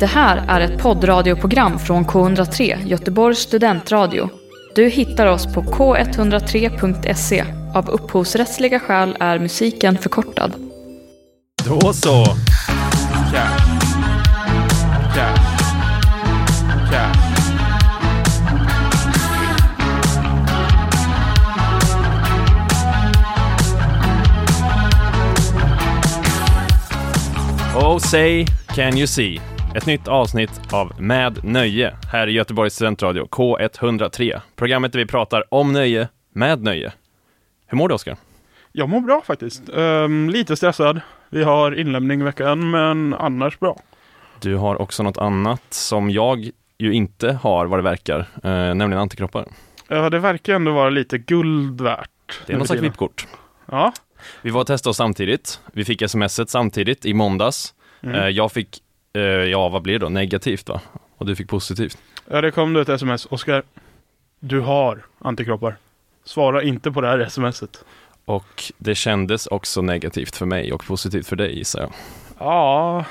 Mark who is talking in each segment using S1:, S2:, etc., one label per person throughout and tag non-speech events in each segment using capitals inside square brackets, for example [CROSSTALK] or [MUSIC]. S1: Det här är ett poddradioprogram från K103, Göteborgs studentradio. Du hittar oss på k103.se. Av upphovsrättsliga skäl är musiken förkortad.
S2: Då så. Ja. Ja. Ja. Oh say, can you see? Ett nytt avsnitt av Med nöje här i Göteborgs studentradio K103. Programmet där vi pratar om nöje med nöje. Hur mår du Oskar?
S3: Jag mår bra faktiskt. Ehm, lite stressad. Vi har inlämning i veckan, men annars bra.
S2: Du har också något annat som jag ju inte har vad det verkar, eh, nämligen antikroppar.
S3: Ja, Eh, det verkar ändå vara lite guld värt.
S2: Det är något slags VIP-kort.
S3: Ja,
S2: Vi var och testade oss samtidigt. Vi fick smset samtidigt i måndags.
S3: Mm.
S2: Eh, Jag fick, eh, ja vad blir det då, negativt va? Och du fick positivt.
S3: ja, det kom då ett sms. Oskar, du har antikroppar. Svara inte på det här smset.
S2: Och det kändes också negativt för mig och positivt för dig gissar jag.
S3: Ja,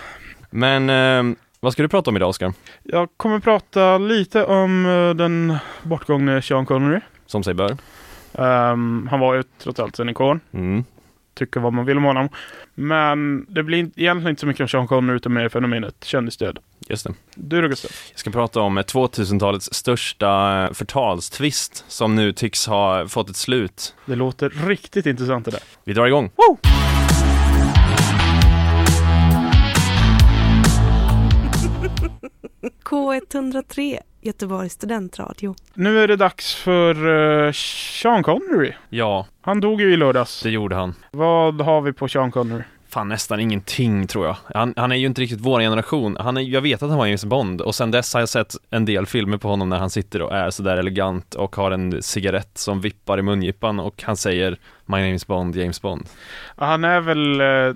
S2: Men eh, vad ska du prata om idag Oskar?
S3: jag kommer prata lite om eh, den bortgångne Sean Connery.
S2: Som sig bör.
S3: Ehm, han var ju trots allt en ikon.
S2: Mm.
S3: Tycker vad man vill om honom. Men det blir inte- egentligen inte så mycket om Sean Connery utan mer fenomenet kändisdöd.
S2: Just det.
S3: Du då Gustav?
S2: Jag ska prata om eh, 2000-talets största eh, förtalstvist som nu tycks ha fått ett slut.
S3: Det låter riktigt intressant det där.
S2: Vi drar igång!
S4: K103, Göteborgs studentradio.
S3: Nu är det dags för eh, Sean Connery.
S2: Ja,
S3: Han dog ju i lördags.
S2: det gjorde han.
S3: Vad har vi på Sean Connery?
S2: Fan nästan ingenting tror jag. Han, han är ju inte riktigt vår generation. Han är, jag vet att han var James Bond och sen dess har jag sett en del filmer på honom när han sitter och är sådär elegant och har en cigarett som vippar i mungipan och han säger My name is Bond, James Bond.
S3: Han är väl uh,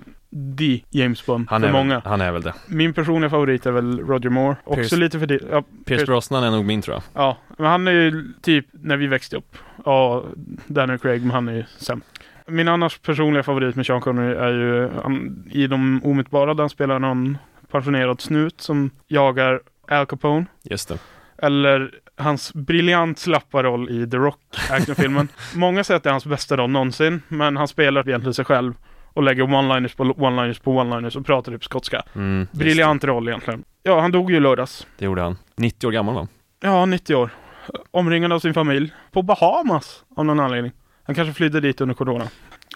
S3: the James Bond
S2: Han
S3: för
S2: är, väl-
S3: många.
S2: han är väl det.
S3: Min personliga favorit är väl Roger Moore. Också
S2: Pierce-
S3: lite för det. Ja,
S2: Pierce
S3: Pierce-
S2: Brosnan är nog min tror jag.
S3: ja, men han är ju typ när vi växte upp. Ja, Daniel Craig, men han är ju sämst. Min annars personliga favorit med Sean Connery är ju han, i De omittbara där han spelar någon passionerad snut som jagar Al Capone.
S2: Just det.
S3: Eller hans briljant slappa roll i The Rock,
S2: [LAUGHS]
S3: actionfilmen. Många säger att det är hans bästa roll någonsin, men han spelar egentligen sig själv och lägger one-liners på one-liners på one-liners och pratar typ skotska.
S2: Mm, just
S3: Briljant roll egentligen. Ja, han dog ju i lördags.
S2: Det. det gjorde han. 90 år gammal va?
S3: Ja, 90 år. Omringad av sin familj. På Bahamas, av någon anledning. Han kanske flydde dit under corona.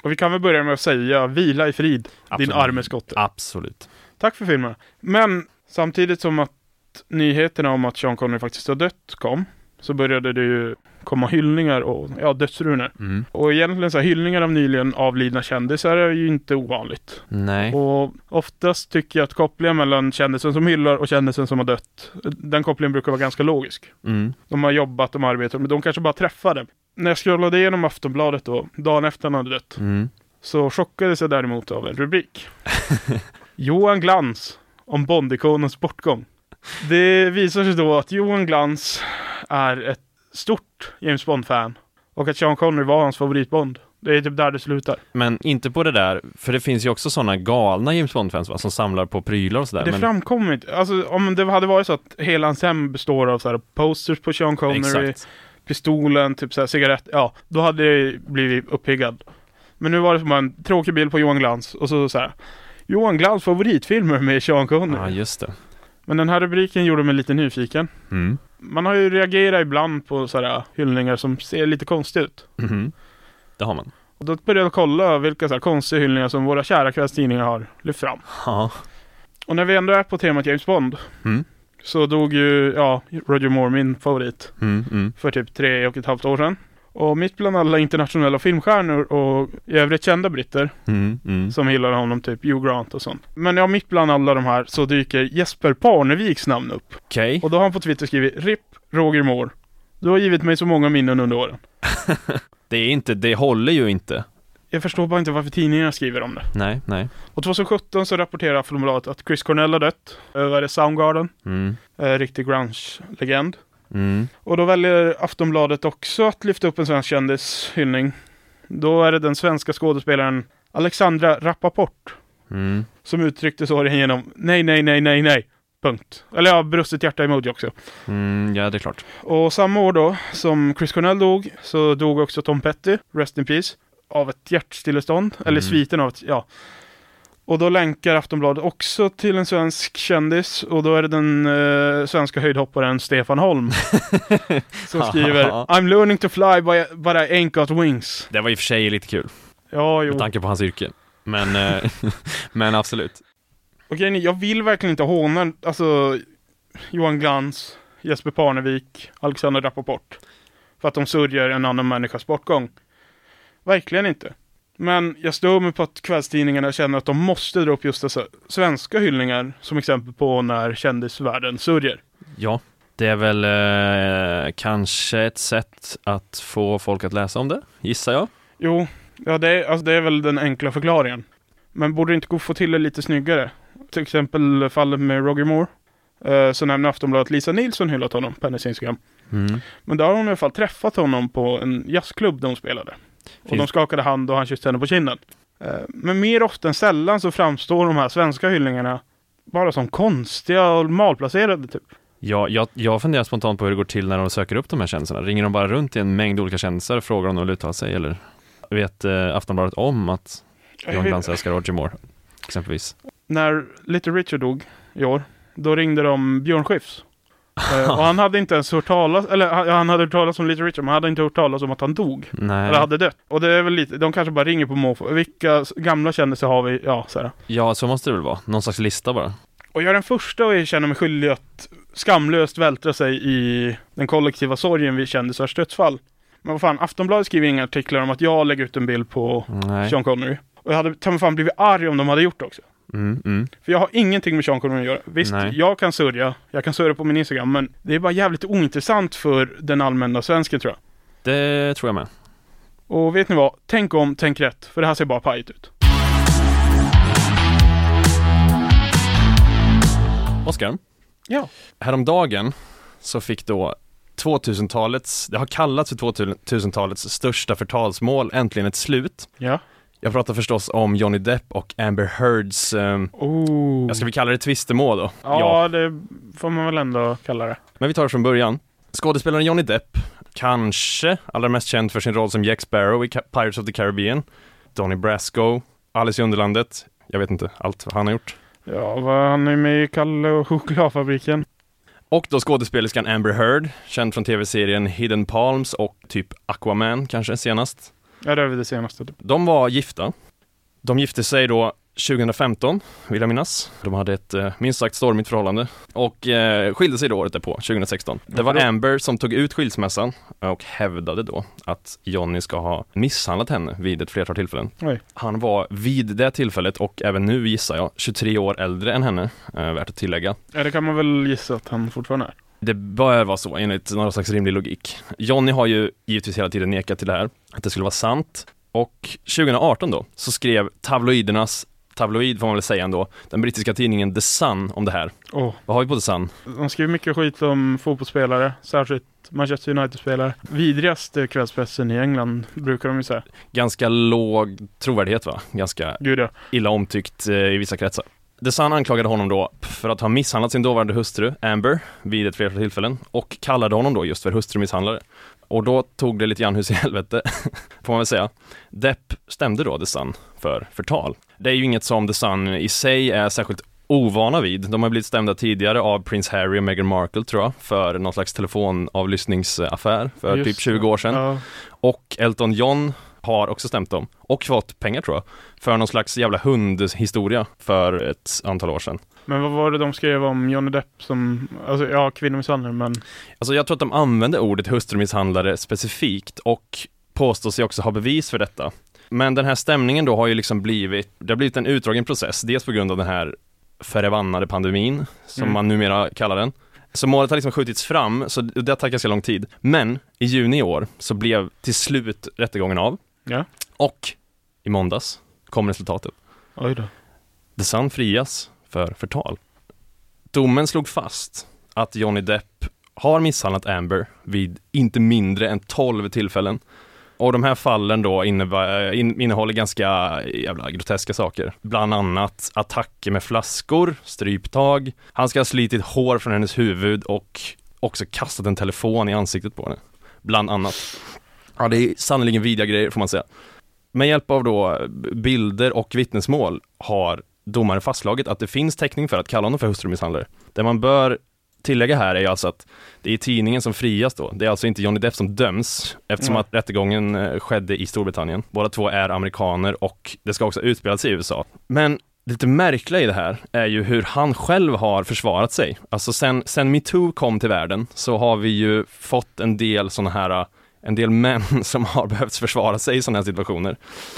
S3: Och vi kan väl börja med att säga, vila i frid,
S2: Absolut.
S3: din arme skotte.
S2: Absolut.
S3: Tack för filmen. Men samtidigt som att nyheterna om att Sean Connery faktiskt har dött kom, så började det ju komma hyllningar och ja, dödsrunor.
S2: Mm.
S3: Och egentligen så här, hyllningar av nyligen avlidna kändisar är ju inte ovanligt.
S2: Nej.
S3: Och oftast tycker jag att kopplingen mellan kändisen som hyllar och kändisen som har dött, den kopplingen brukar vara ganska logisk.
S2: Mm.
S3: De har jobbat, de har arbetat, men de kanske bara träffade. När jag scrollade igenom Aftonbladet då, dagen efter han hade dött,
S2: Mm.
S3: så chockades jag däremot av en rubrik. [LAUGHS] Johan Glans om Bondikonens bortgång. Det visar sig då att Johan Glans är ett stort James Bond-fan och att Sean Connery var hans favoritbond. Det är typ där det slutar.
S2: Men inte på det där, för det finns ju också sådana galna James Bond-fans va, som samlar på prylar och sådär.
S3: det
S2: men...
S3: framkommer inte. Alltså om det hade varit så att hela hans hem består av så här posters på Sean Connery,
S2: Exakt.
S3: pistolen, typ så här cigarett, ja, då hade det blivit uppiggad. Men nu var det som bara en tråkig bild på Johan Glans och så så här. Johan Glans favoritfilmer med Sean Connery.
S2: Ja, just det.
S3: Men den här rubriken gjorde mig lite nyfiken.
S2: Mm.
S3: Man har ju reagerat ibland på sådana hyllningar som ser lite konstigt ut.
S2: Mhm. Det har man.
S3: Och då började jag kolla vilka så här konstiga hyllningar som våra kära kvällstidningar har lyft fram.
S2: Ja.
S3: Och när vi ändå är på temat James Bond
S2: Mm.
S3: så dog ju, ja, Roger Moore, min favorit,
S2: Mm, mm.
S3: för typ tre och ett halvt år sedan. Och mitt bland alla internationella filmstjärnor och i övrigt kända britter
S2: Mm, mm.
S3: som hyllar honom, typ Hugh Grant och sånt. Men ja, mitt bland alla de här så dyker Jesper Parneviks namn upp.
S2: Okej.
S3: Och då har han på Twitter skrivit RIP Roger Moore. Du har givit mig så många minnen under åren.
S2: Det är inte, det håller ju inte.
S3: Jag förstår bara inte varför tidningarna skriver om det.
S2: Nej, nej.
S3: Och 2017 så rapporterar Aftonbladet att Chris Cornell har dött. Eh, Vad är det? Soundgarden.
S2: Mm.
S3: Eh, riktig grunge-legend.
S2: Mm.
S3: Och då väljer Aftonbladet också att lyfta upp en svensk kändishyllning. Då är det den svenska skådespelaren Alexandra Rappaport
S2: Mm.
S3: som uttryckte sorgen genom Nej, nej, nej, nej, nej. Punkt. Eller ja, brustet hjärta-emoji också.
S2: Mm, ja, det är klart.
S3: Och samma år då som Chris Cornell dog så dog också Tom Petty, Rest in Peace, av ett hjärtstillestånd, eller
S2: Mm.
S3: sviten av ett, ja. Och då länkar Aftonbladet också till en svensk kändis och då är det den eh, svenska höjdhopparen Stefan Holm. som skriver I'm learning to fly by, but I ain't got wings.
S2: Det var i och för sig lite kul,
S3: Ja,
S2: med
S3: jo.
S2: tanke på hans yrke. Men, [LAUGHS] eh, men absolut.
S3: Okej, ni- jag vill verkligen inte håna, alltså Johan Glans, Jesper Parnevik, Alexander Rappaport. För att de sörjer en annan människas bortgång. Verkligen inte. Men jag stör mig på att kvällstidningarna känner att de måste dra upp just dessa svenska hyllningar som exempel på när kändisvärlden sörjer.
S2: Ja, det är väl eh, kanske ett sätt att få folk att läsa om det, gissar jag.
S3: Jo, ja, det, är, alltså, det är väl den enkla förklaringen. Men borde det inte gå att få till det lite snyggare? Till exempel fallet med Roger Moore. Eh, så nämner Aftonbladet att Lisa Nilsson hyllat honom på hennes Instagram.
S2: Mm.
S3: Men där har hon i alla fall träffat honom på en jazzklubb där hon spelade. Och
S2: Finns-
S3: de skakade hand och han kysste henne på kinden. Eh, Men mer ofta än sällan så framstår de här svenska hyllningarna bara som konstiga och malplacerade typ.
S2: Ja, jag, jag funderar spontant på hur det går till när de söker upp de här kändisarna. Ringer de bara runt i en mängd olika kändisar och frågar om de vill uttala sig eller vet eh, Aftonbladet om att
S3: [LAUGHS]
S2: Johan Glans älskar Roger Moore, exempelvis?
S3: När Little Richard dog i år, då ringde de Björn Skifs. Eh, Och han hade inte ens hört talas, eller han han hade hört talas om Little Richard, men han hade inte hört talas om att han dog.
S2: Nej.
S3: Eller hade dött. Och det är väl lite, de kanske bara ringer på måfå. Vilka s- gamla kändisar har vi? Ja, så här.
S2: Ja, så måste det väl vara. Någon slags lista bara.
S3: Och jag är den första att erkänna mig skyldig att skamlöst vältra sig i den kollektiva sorgen vid kändisars dödsfall. Men vad fan, Aftonbladet skriver inga artiklar om att jag lägger ut en bild på
S2: Nej.
S3: Sean Connery. Och jag hade ta mig fan blivit arg om de hade gjort det också.
S2: Mm, mm.
S3: För jag har ingenting med Sean Connery att göra. Visst,
S2: Nej.
S3: jag kan sörja. Jag kan sörja på min Instagram, men det är bara jävligt ointressant för den allmänna svensken tror jag.
S2: Det tror jag med.
S3: Och vet ni vad? Tänk om, tänk rätt. För det här ser bara pajigt ut.
S2: Oskar,
S3: Ja.
S2: häromdagen så fick då 2000-talets, det har kallats för 2000-talets största förtalsmål, äntligen ett slut.
S3: Ja.
S2: Jag pratar förstås om Johnny Depp och Amber Heards, eh,
S3: Oh.
S2: jag ska väl kalla det tvistemål då?
S3: Ja, det får man väl ändå kalla det.
S2: Men vi tar det från början. Skådespelaren Johnny Depp, kanske allra mest känd för sin roll som Jack Sparrow i Ca- Pirates of the Caribbean, Donnie Brasco, Alice i Underlandet, jag vet inte allt vad han har gjort.
S3: Ja, vad han är med i Kalle och chokladfabriken.
S2: Och då skådespelerskan Amber Heard, känd från tv-serien Hidden Palms och typ Aquaman kanske senast.
S3: Ja, det är väl det senaste. typ.
S2: De var gifta. De gifte sig då 2015, vill jag minnas. De hade ett eh, minst sagt stormigt förhållande och eh, skilde sig då året därpå, 2016. Det var
S3: Varför då?
S2: Amber som tog ut skilsmässan och hävdade då att Johnny ska ha misshandlat henne vid ett flertal tillfällen.
S3: Oj.
S2: Han var vid det tillfället och även nu gissar jag 23 år äldre än henne, eh, värt att tillägga.
S3: Ja, det kan man väl gissa att han fortfarande är.
S2: Det bör vara så enligt någon slags rimlig logik. Johnny har ju givetvis hela tiden nekat till det här, att det skulle vara sant. Och 2018 då, så skrev tabloidernas, tabloid får man väl säga ändå, den brittiska tidningen The Sun om det här.
S3: Åh,
S2: Vad har vi på The Sun?
S3: de skriver mycket skit om fotbollsspelare, särskilt Manchester United-spelare. Vidrigaste kvällspressen i England brukar de ju säga.
S2: Ganska låg trovärdighet va? Ganska
S3: Gud ja.
S2: illa omtyckt eh, i vissa kretsar. The Sun anklagade honom då för att ha misshandlat sin dåvarande hustru Amber vid ett flertal tillfällen och kallade honom då just för hustrumisshandlare. Och då tog det lite grann hus i helvete, [LAUGHS] får man väl säga. Depp stämde då The Sun för förtal. Det är ju inget som The Sun i sig är särskilt ovana vid. De har blivit stämda tidigare av Prince Harry och Meghan Markle tror jag, för någon slags telefonavlyssningsaffär för
S3: Just
S2: typ 20 år sedan.
S3: Ja.
S2: Och Elton John har också stämt dem och fått pengar tror jag, för någon slags jävla hundhistoria för ett antal år sedan.
S3: Men vad var det de skrev om Johnny Depp som, alltså ja, kvinnomisshandel, men
S2: Alltså jag tror att de använde ordet hustrumisshandlare specifikt och påstår sig också ha bevis för detta. Men den här stämningen då har ju liksom blivit, det har blivit en utdragen process, dels på grund av den här förvannade pandemin, som
S3: Mm.
S2: man numera kallar den. Så målet har liksom skjutits fram, så det har tagit ganska lång tid. Men i juni i år så blev till slut rättegången av.
S3: Ja.
S2: Och i måndags kom resultatet.
S3: oj då.
S2: The Sun frias för förtal. Domen slog fast att Johnny Depp har misshandlat Amber vid inte mindre än 12 tillfällen Och de här fallen då innebär, in, innehåller ganska jävla groteska saker. Bland annat attacker med flaskor, stryptag, han ska ha slitit hår från hennes huvud och också kastat en telefon i ansiktet på henne. Bland annat. Ja, det är sannerligen vidriga grejer får man säga. Med hjälp av då bilder och vittnesmål har domaren fastslagit att det finns täckning för att kalla honom för hustrumisshandlare. Det man bör tillägga här är ju alltså att det är tidningen som frias då. Det är alltså inte Johnny Depp som döms eftersom
S3: Nej.
S2: att rättegången eh, skedde i Storbritannien. Båda två är amerikaner och det ska också utspelas i USA. Men det lite märkliga i det här är ju hur han själv har försvarat sig. Alltså sen, sen metoo kom till världen så har vi ju fått en del sådana här eh, en del män [LAUGHS] som har behövt försvara sig i sådana här situationer.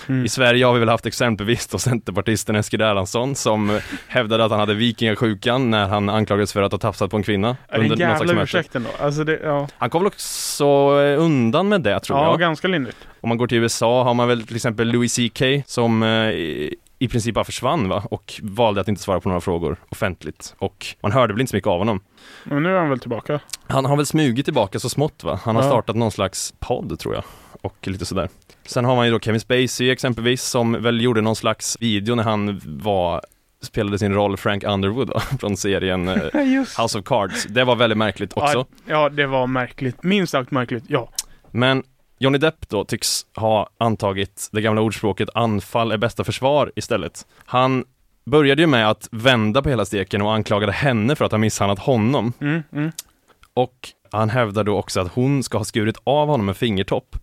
S3: Mm.
S2: I Sverige har vi väl haft exempelvis då centerpartisten Eskil Erlandsson som eh, hävdade att han hade vikingasjukan när han anklagades för att ha tafsat på en kvinna.
S3: Är det en
S2: någon slags
S3: jävla
S2: möte.
S3: ursäkt ändå? Alltså det, ja.
S2: Han kom väl också eh, undan med det tror
S3: Ja,
S2: jag.
S3: ganska lindrigt.
S2: Om man går till USA har man väl till exempel Louis CK som eh, i- i princip bara försvann va? och valde att inte svara på några frågor offentligt. Och man hörde väl inte så mycket av honom.
S3: Men nu är han väl tillbaka.
S2: Han har väl smugit tillbaka så smått va? Han har
S3: Ja.
S2: startat någon slags podd tror jag och lite sådär. Sen har man ju då Kevin Spacey exempelvis som väl gjorde någon slags video när han var spelade sin roll Frank Underwood va? [LAUGHS] från serien eh,
S3: Ja, just
S2: House of Cards. Det var väldigt märkligt också.
S3: Ja, det var märkligt. Minst sagt märkligt, ja.
S2: Men Johnny Depp då tycks ha antagit det gamla ordspråket anfall är bästa försvar istället. Han började ju med att vända på hela steken och anklagade henne för att ha misshandlat honom.
S3: Mm, mm.
S2: Och han hävdar då också att hon ska ha skurit av honom en fingertopp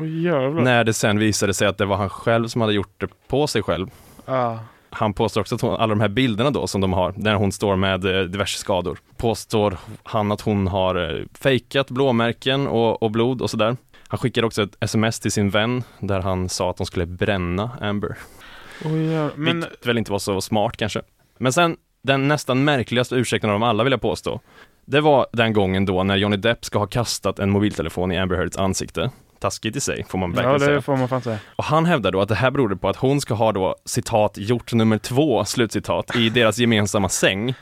S3: Åh jävlar.
S2: när det sen visade sig att det var han själv som hade gjort det på sig själv.
S3: Ah.
S2: Han påstår också att hon, alla de här bilderna då som de har, där hon står med eh, diverse skador, påstår han att hon har eh, fejkat blåmärken och, och blod och sådär. Han skickade också ett sms till sin vän där han sa att de skulle bränna Amber,
S3: Åh jävlar. Men
S2: vilket väl inte var så smart kanske. Men sen, den nästan märkligaste ursäkten av dem alla vill jag påstå, det var den gången då när Johnny Depp ska ha kastat en mobiltelefon i Amber Heards ansikte. Taskigt i sig, får man verkligen
S3: ja,
S2: säga.
S3: det får man fan säga.
S2: Och han hävdar då att det här berodde på att hon ska ha då citat gjort nummer två, slutcitat, i deras gemensamma säng.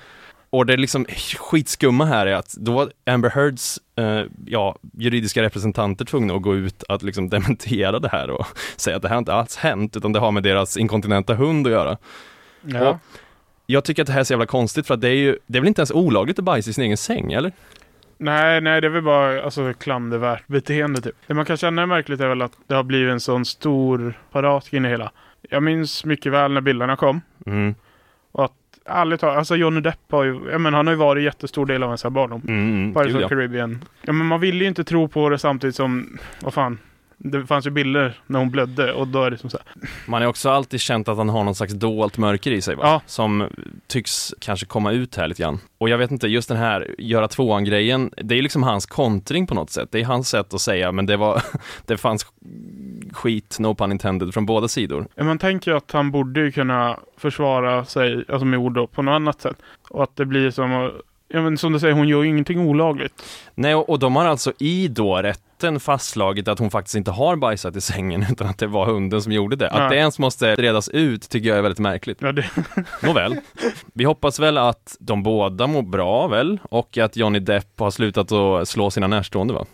S2: Och det liksom skitskumma här är att då var Amber Heards eh, ja, juridiska representanter tvungna att gå ut att liksom dementera det här och [LAUGHS] säga att det här har inte alls hänt, utan det har med deras inkontinenta hund att göra.
S3: Ja.
S2: Och jag tycker att det här är så jävla konstigt för att det är ju, det är väl inte ens olagligt att bajsa i sin egen säng, eller?
S3: Nej, nej, det är väl bara alltså, klandervärt beteende typ. Det man kan känna är märkligt är väl att det har blivit en sån stor parat kring det hela. Jag minns mycket väl när bilderna kom.
S2: Mm,
S3: Ärligt talat, alltså Johnny Depp har ju, ja, men han har ju varit en jättestor del av ens här barndom.
S2: mm, mm,
S3: Pirates
S2: gud,
S3: of
S2: ja.
S3: Caribbean. Ja, men man ville ju inte tro på det samtidigt som, vad fan, det fanns ju bilder när hon blödde och då är det som så här.
S2: Man har också alltid känt att han har någon slags dolt mörker i sig va?
S3: Ja.
S2: Som tycks kanske komma ut här lite grann. Och jag vet inte, just den här göra tvåan-grejen, det är liksom hans kontring på något sätt. Det är hans sätt att säga, men det var, [LAUGHS] det fanns skit, no pun intended, från båda sidor.
S3: Ja, Man tänker ju att han borde ju kunna försvara sig, alltså med ord då, på något annat sätt. Och att det blir som, att- ja men som du säger, hon gör ju ingenting olagligt.
S2: Nej, och, och de har alltså i då rätten fastslagit att hon faktiskt inte har bajsat i sängen, [LAUGHS] utan att det var hunden som gjorde det. Att
S3: Nej.
S2: det ens måste redas ut tycker jag är väldigt märkligt.
S3: Ja, det, [LAUGHS]
S2: Nåväl, vi hoppas väl att de båda mår bra väl och att Johnny Depp har slutat att slå sina närstående va?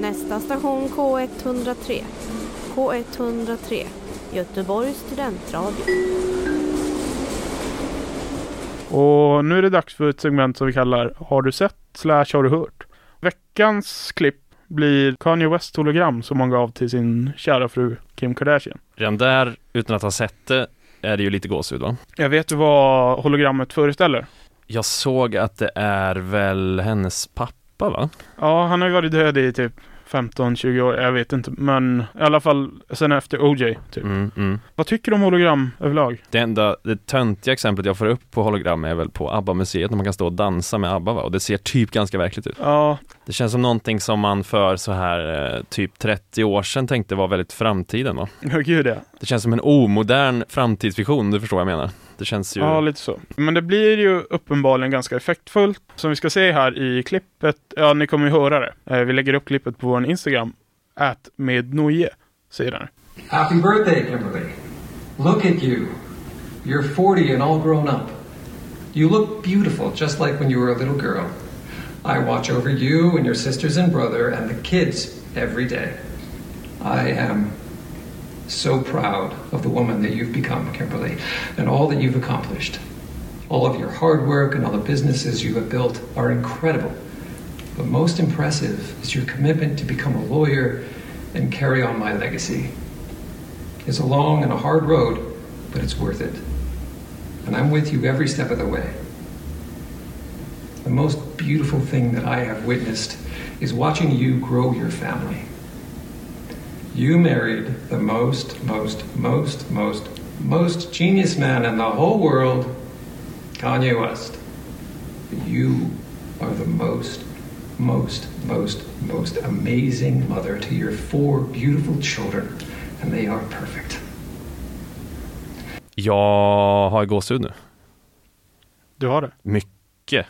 S4: Nästa station K103. K103. Göteborgs studentradio.
S3: Och nu är det dags för ett segment som vi kallar Har du sett? slash Har du hört? Veckans klipp blir Kanye West hologram som han gav till sin kära fru Kim Kardashian.
S2: Redan där, utan att ha sett det, är det ju lite gåshud va?
S3: Jag vet vad hologrammet föreställer.
S2: Jag såg att det är väl hennes pappa va?
S3: Ja, han har ju varit död i typ 15-20 år, jag vet inte, men i alla fall sen efter OJ. Typ.
S2: Mm, mm.
S3: Vad tycker du om hologram överlag?
S2: Det enda, det töntiga exemplet jag får upp på hologram är väl på ABBA-museet när man kan stå och dansa med ABBA va? Och det ser typ ganska verkligt ut.
S3: Ja,
S2: Det känns som någonting som man för så här eh, typ 30 år sedan tänkte var väldigt framtiden va?
S3: [LAUGHS] ja gud ja.
S2: Det känns som en omodern framtidsvision, du förstår vad jag menar. Det känns ju...
S3: Ja, lite så. Men det blir ju uppenbarligen ganska effektfullt. Som vi ska se här i klippet, ja ni kommer ju höra det. Eh, Vi lägger upp klippet på vår Instagram, at mednoje, säger den.
S5: Happy birthday, Kimberly. Look at you. You're 40 and all grown up. You look beautiful, just like when you were a little girl. I watch over you and your sisters and brother and the kids every day. I am so proud of the woman that you've become, Kimberly, and all that you've accomplished. All of your hard work and all the businesses you have built are incredible. But most impressive is your commitment to become a lawyer and carry on my legacy. It's a long and a hard road, but it's worth it. And I'm with you every step of the way. The most beautiful thing that I have witnessed is watching you grow your family. You married the most, most, most, most, most genius man in the whole world, Kanye West. You are the most, most, most, most amazing mother to your four beautiful children, and they are perfect.
S2: Jag har gåshud nu.
S3: Du har det.
S2: Mycket.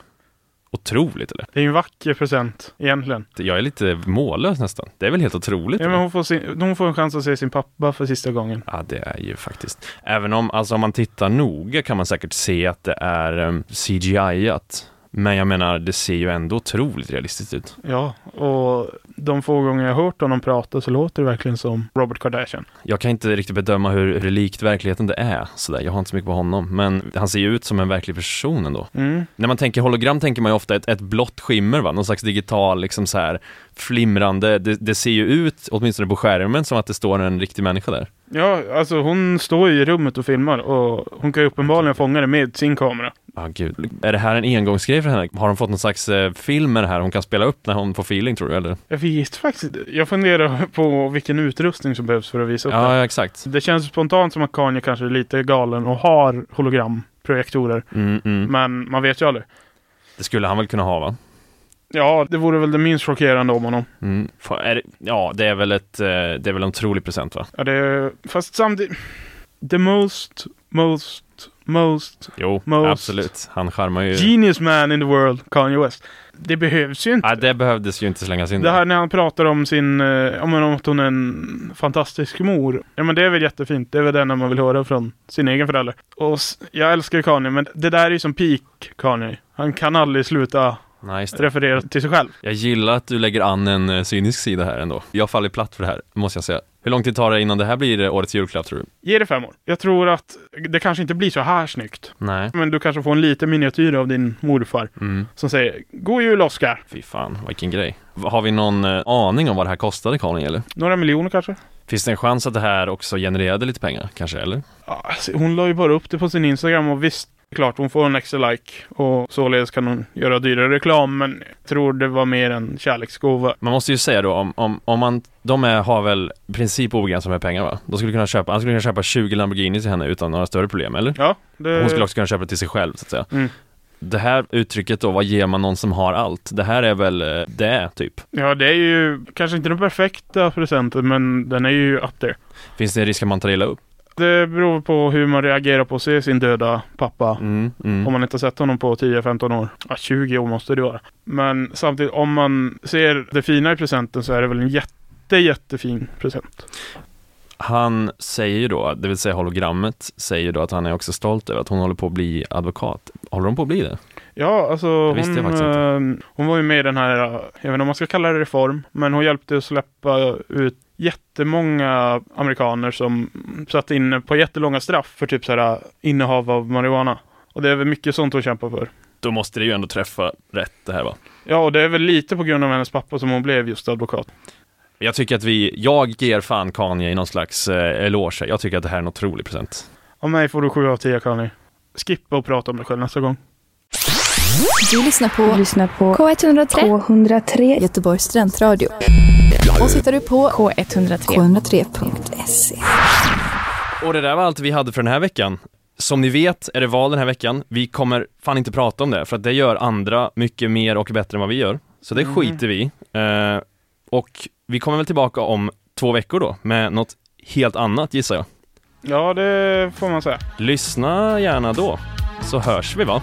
S2: Otroligt eller?
S3: Det är ju en vacker present egentligen.
S2: Jag är lite mållös nästan. Det är väl helt otroligt?
S3: Ja,
S2: eller?
S3: men hon, får sin, hon får en chans att se sin pappa för sista gången.
S2: Ja, det är ju faktiskt. Även om, alltså om man tittar noga kan man säkert se att det är um, CGI-at. Men jag menar, det ser ju ändå otroligt realistiskt ut.
S3: Ja, och de få gånger jag har hört honom prata så låter det verkligen som Robert Kardashian.
S2: Jag kan inte riktigt bedöma hur, hur likt verkligheten det är, sådär. Jag har inte så mycket på honom, men han ser ju ut som en verklig person ändå.
S3: Mm.
S2: När man tänker hologram tänker man ju ofta ett, ett blått skimmer, va? någon slags digital, liksom så här flimrande. Det, det ser ju ut, åtminstone på skärmen, som att det står en riktig människa där.
S3: Ja, alltså hon står ju i rummet och filmar och hon kan ju uppenbarligen fånga det med sin kamera.
S2: Ja, gud. Är det här en engångsgrej för henne? Har hon fått någon slags eh, film med det här hon kan spela upp när hon får feeling, tror du? Eller?
S3: Jag vet faktiskt inte. Jag funderar på vilken utrustning som behövs för att visa upp
S2: Ja, ja, exakt.
S3: det. Det känns spontant som att Kanye kanske är lite galen och har hologramprojektorer.
S2: Mm, mm.
S3: Men man vet ju aldrig.
S2: Det skulle han väl kunna ha, va?
S3: Ja, det vore väl det minst chockerande om honom.
S2: Mm. Fan, är det, ja, det är väl ett, eh, det är väl en otrolig present, va?
S3: Ja, det, fast samtidigt... The most, most, most
S2: Jo,
S3: Most-
S2: absolut. Han charmar ju.
S3: genius man in the world, Kanye West. Det behövs ju inte.
S2: Nej, det behövdes ju inte slängas in.
S3: Det här
S2: där.
S3: när han pratar om sin, eh, ja men om att hon är en fantastisk mor. Ja men det är väl jättefint, det är väl det när man vill höra från sin egen förälder. Och s- jag älskar Kanye, men det där är ju som peak Kanye. Han kan aldrig sluta
S2: Nej, just det.
S3: referera till sig själv.
S2: Jag gillar att du lägger an en eh, cynisk sida här ändå. Jag faller platt för det här, måste jag säga. Hur lång tid tar det innan det här blir eh, årets julklapp, tror du?
S3: Ge det fem år. Jag tror att det kanske inte blir så här snyggt.
S2: Nej.
S3: Men du kanske får en liten miniatyr av din morfar
S2: Mm.
S3: som säger God jul Oscar!
S2: Fy fan, vilken grej. Har vi någon eh, aning om vad det här kostade Karin, eller?
S3: Några miljoner kanske?
S2: Finns det en chans att det här också genererade lite pengar, kanske, eller?
S3: Ja, alltså, hon la ju bara upp det på sin Instagram och visst, klart hon får en extra like och således kan hon göra dyrare reklam men jag tror det var mer en kärleksgåva.
S2: Man måste ju säga då, om, om, om man, de är, har väl i princip obegränsat med pengar va? De skulle kunna köpa, han skulle kunna köpa 20 Lamborghini till henne utan några större problem, eller?
S3: Ja, det...
S2: Hon skulle också kunna köpa till sig själv, så att säga.
S3: Mm.
S2: Det här uttrycket då, vad ger man någon som har allt? Det här är väl eh, det, typ.
S3: Ja, det är ju kanske inte den perfekta presenten men den är ju up there.
S2: Finns det en risk att man tar illa upp?
S3: Det beror på hur man reagerar på att se sin döda pappa.
S2: Mm,
S3: Om
S2: mm.
S3: man inte har sett honom på 10-15 år. Ja, 20 år måste det vara. Men samtidigt, om man ser det fina i presenten så är det väl en jätte, jättefin present.
S2: Han säger ju då, det vill säga hologrammet, säger ju då att han är också stolt över att hon håller på att bli advokat. Håller hon på att bli det?
S3: Ja, alltså
S2: visste jag
S3: hon,
S2: faktiskt inte.
S3: eh, hon var ju med i den här, eh, jag vet inte om man ska kalla det reform, men hon hjälpte att släppa ut jättemånga amerikaner som satt inne på jättelånga straff för typ så här eh, innehav av marijuana. Och det är väl mycket sånt hon kämpar för.
S2: Då måste det ju ändå träffa rätt det här va?
S3: Ja, och det är väl lite på grund av hennes pappa som hon blev just advokat.
S2: Jag tycker att vi, jag ger fan Kanye i någon slags eh, eloge. här. Jag tycker att det här är en otrolig present.
S3: Av mig får du 7 av 10 Conny. Skippa och prata om dig själv nästa gång.
S6: Du lyssnar på
S7: Lyssna på
S6: K103,
S7: K103.
S6: Göteborgs studentradio. Och så hittar du på
S7: K103.
S6: k103.se.
S2: Och det där var allt vi hade för den här veckan. Som ni vet är det val den här veckan. Vi kommer fan inte prata om det, för att det gör andra mycket mer och bättre än vad vi gör. Så det
S3: Mhm.
S2: skiter vi i. eh, Och vi kommer väl tillbaka om två veckor då, med något helt annat gissar jag.
S3: Ja, det får man säga.
S2: Lyssna gärna då, så hörs vi va?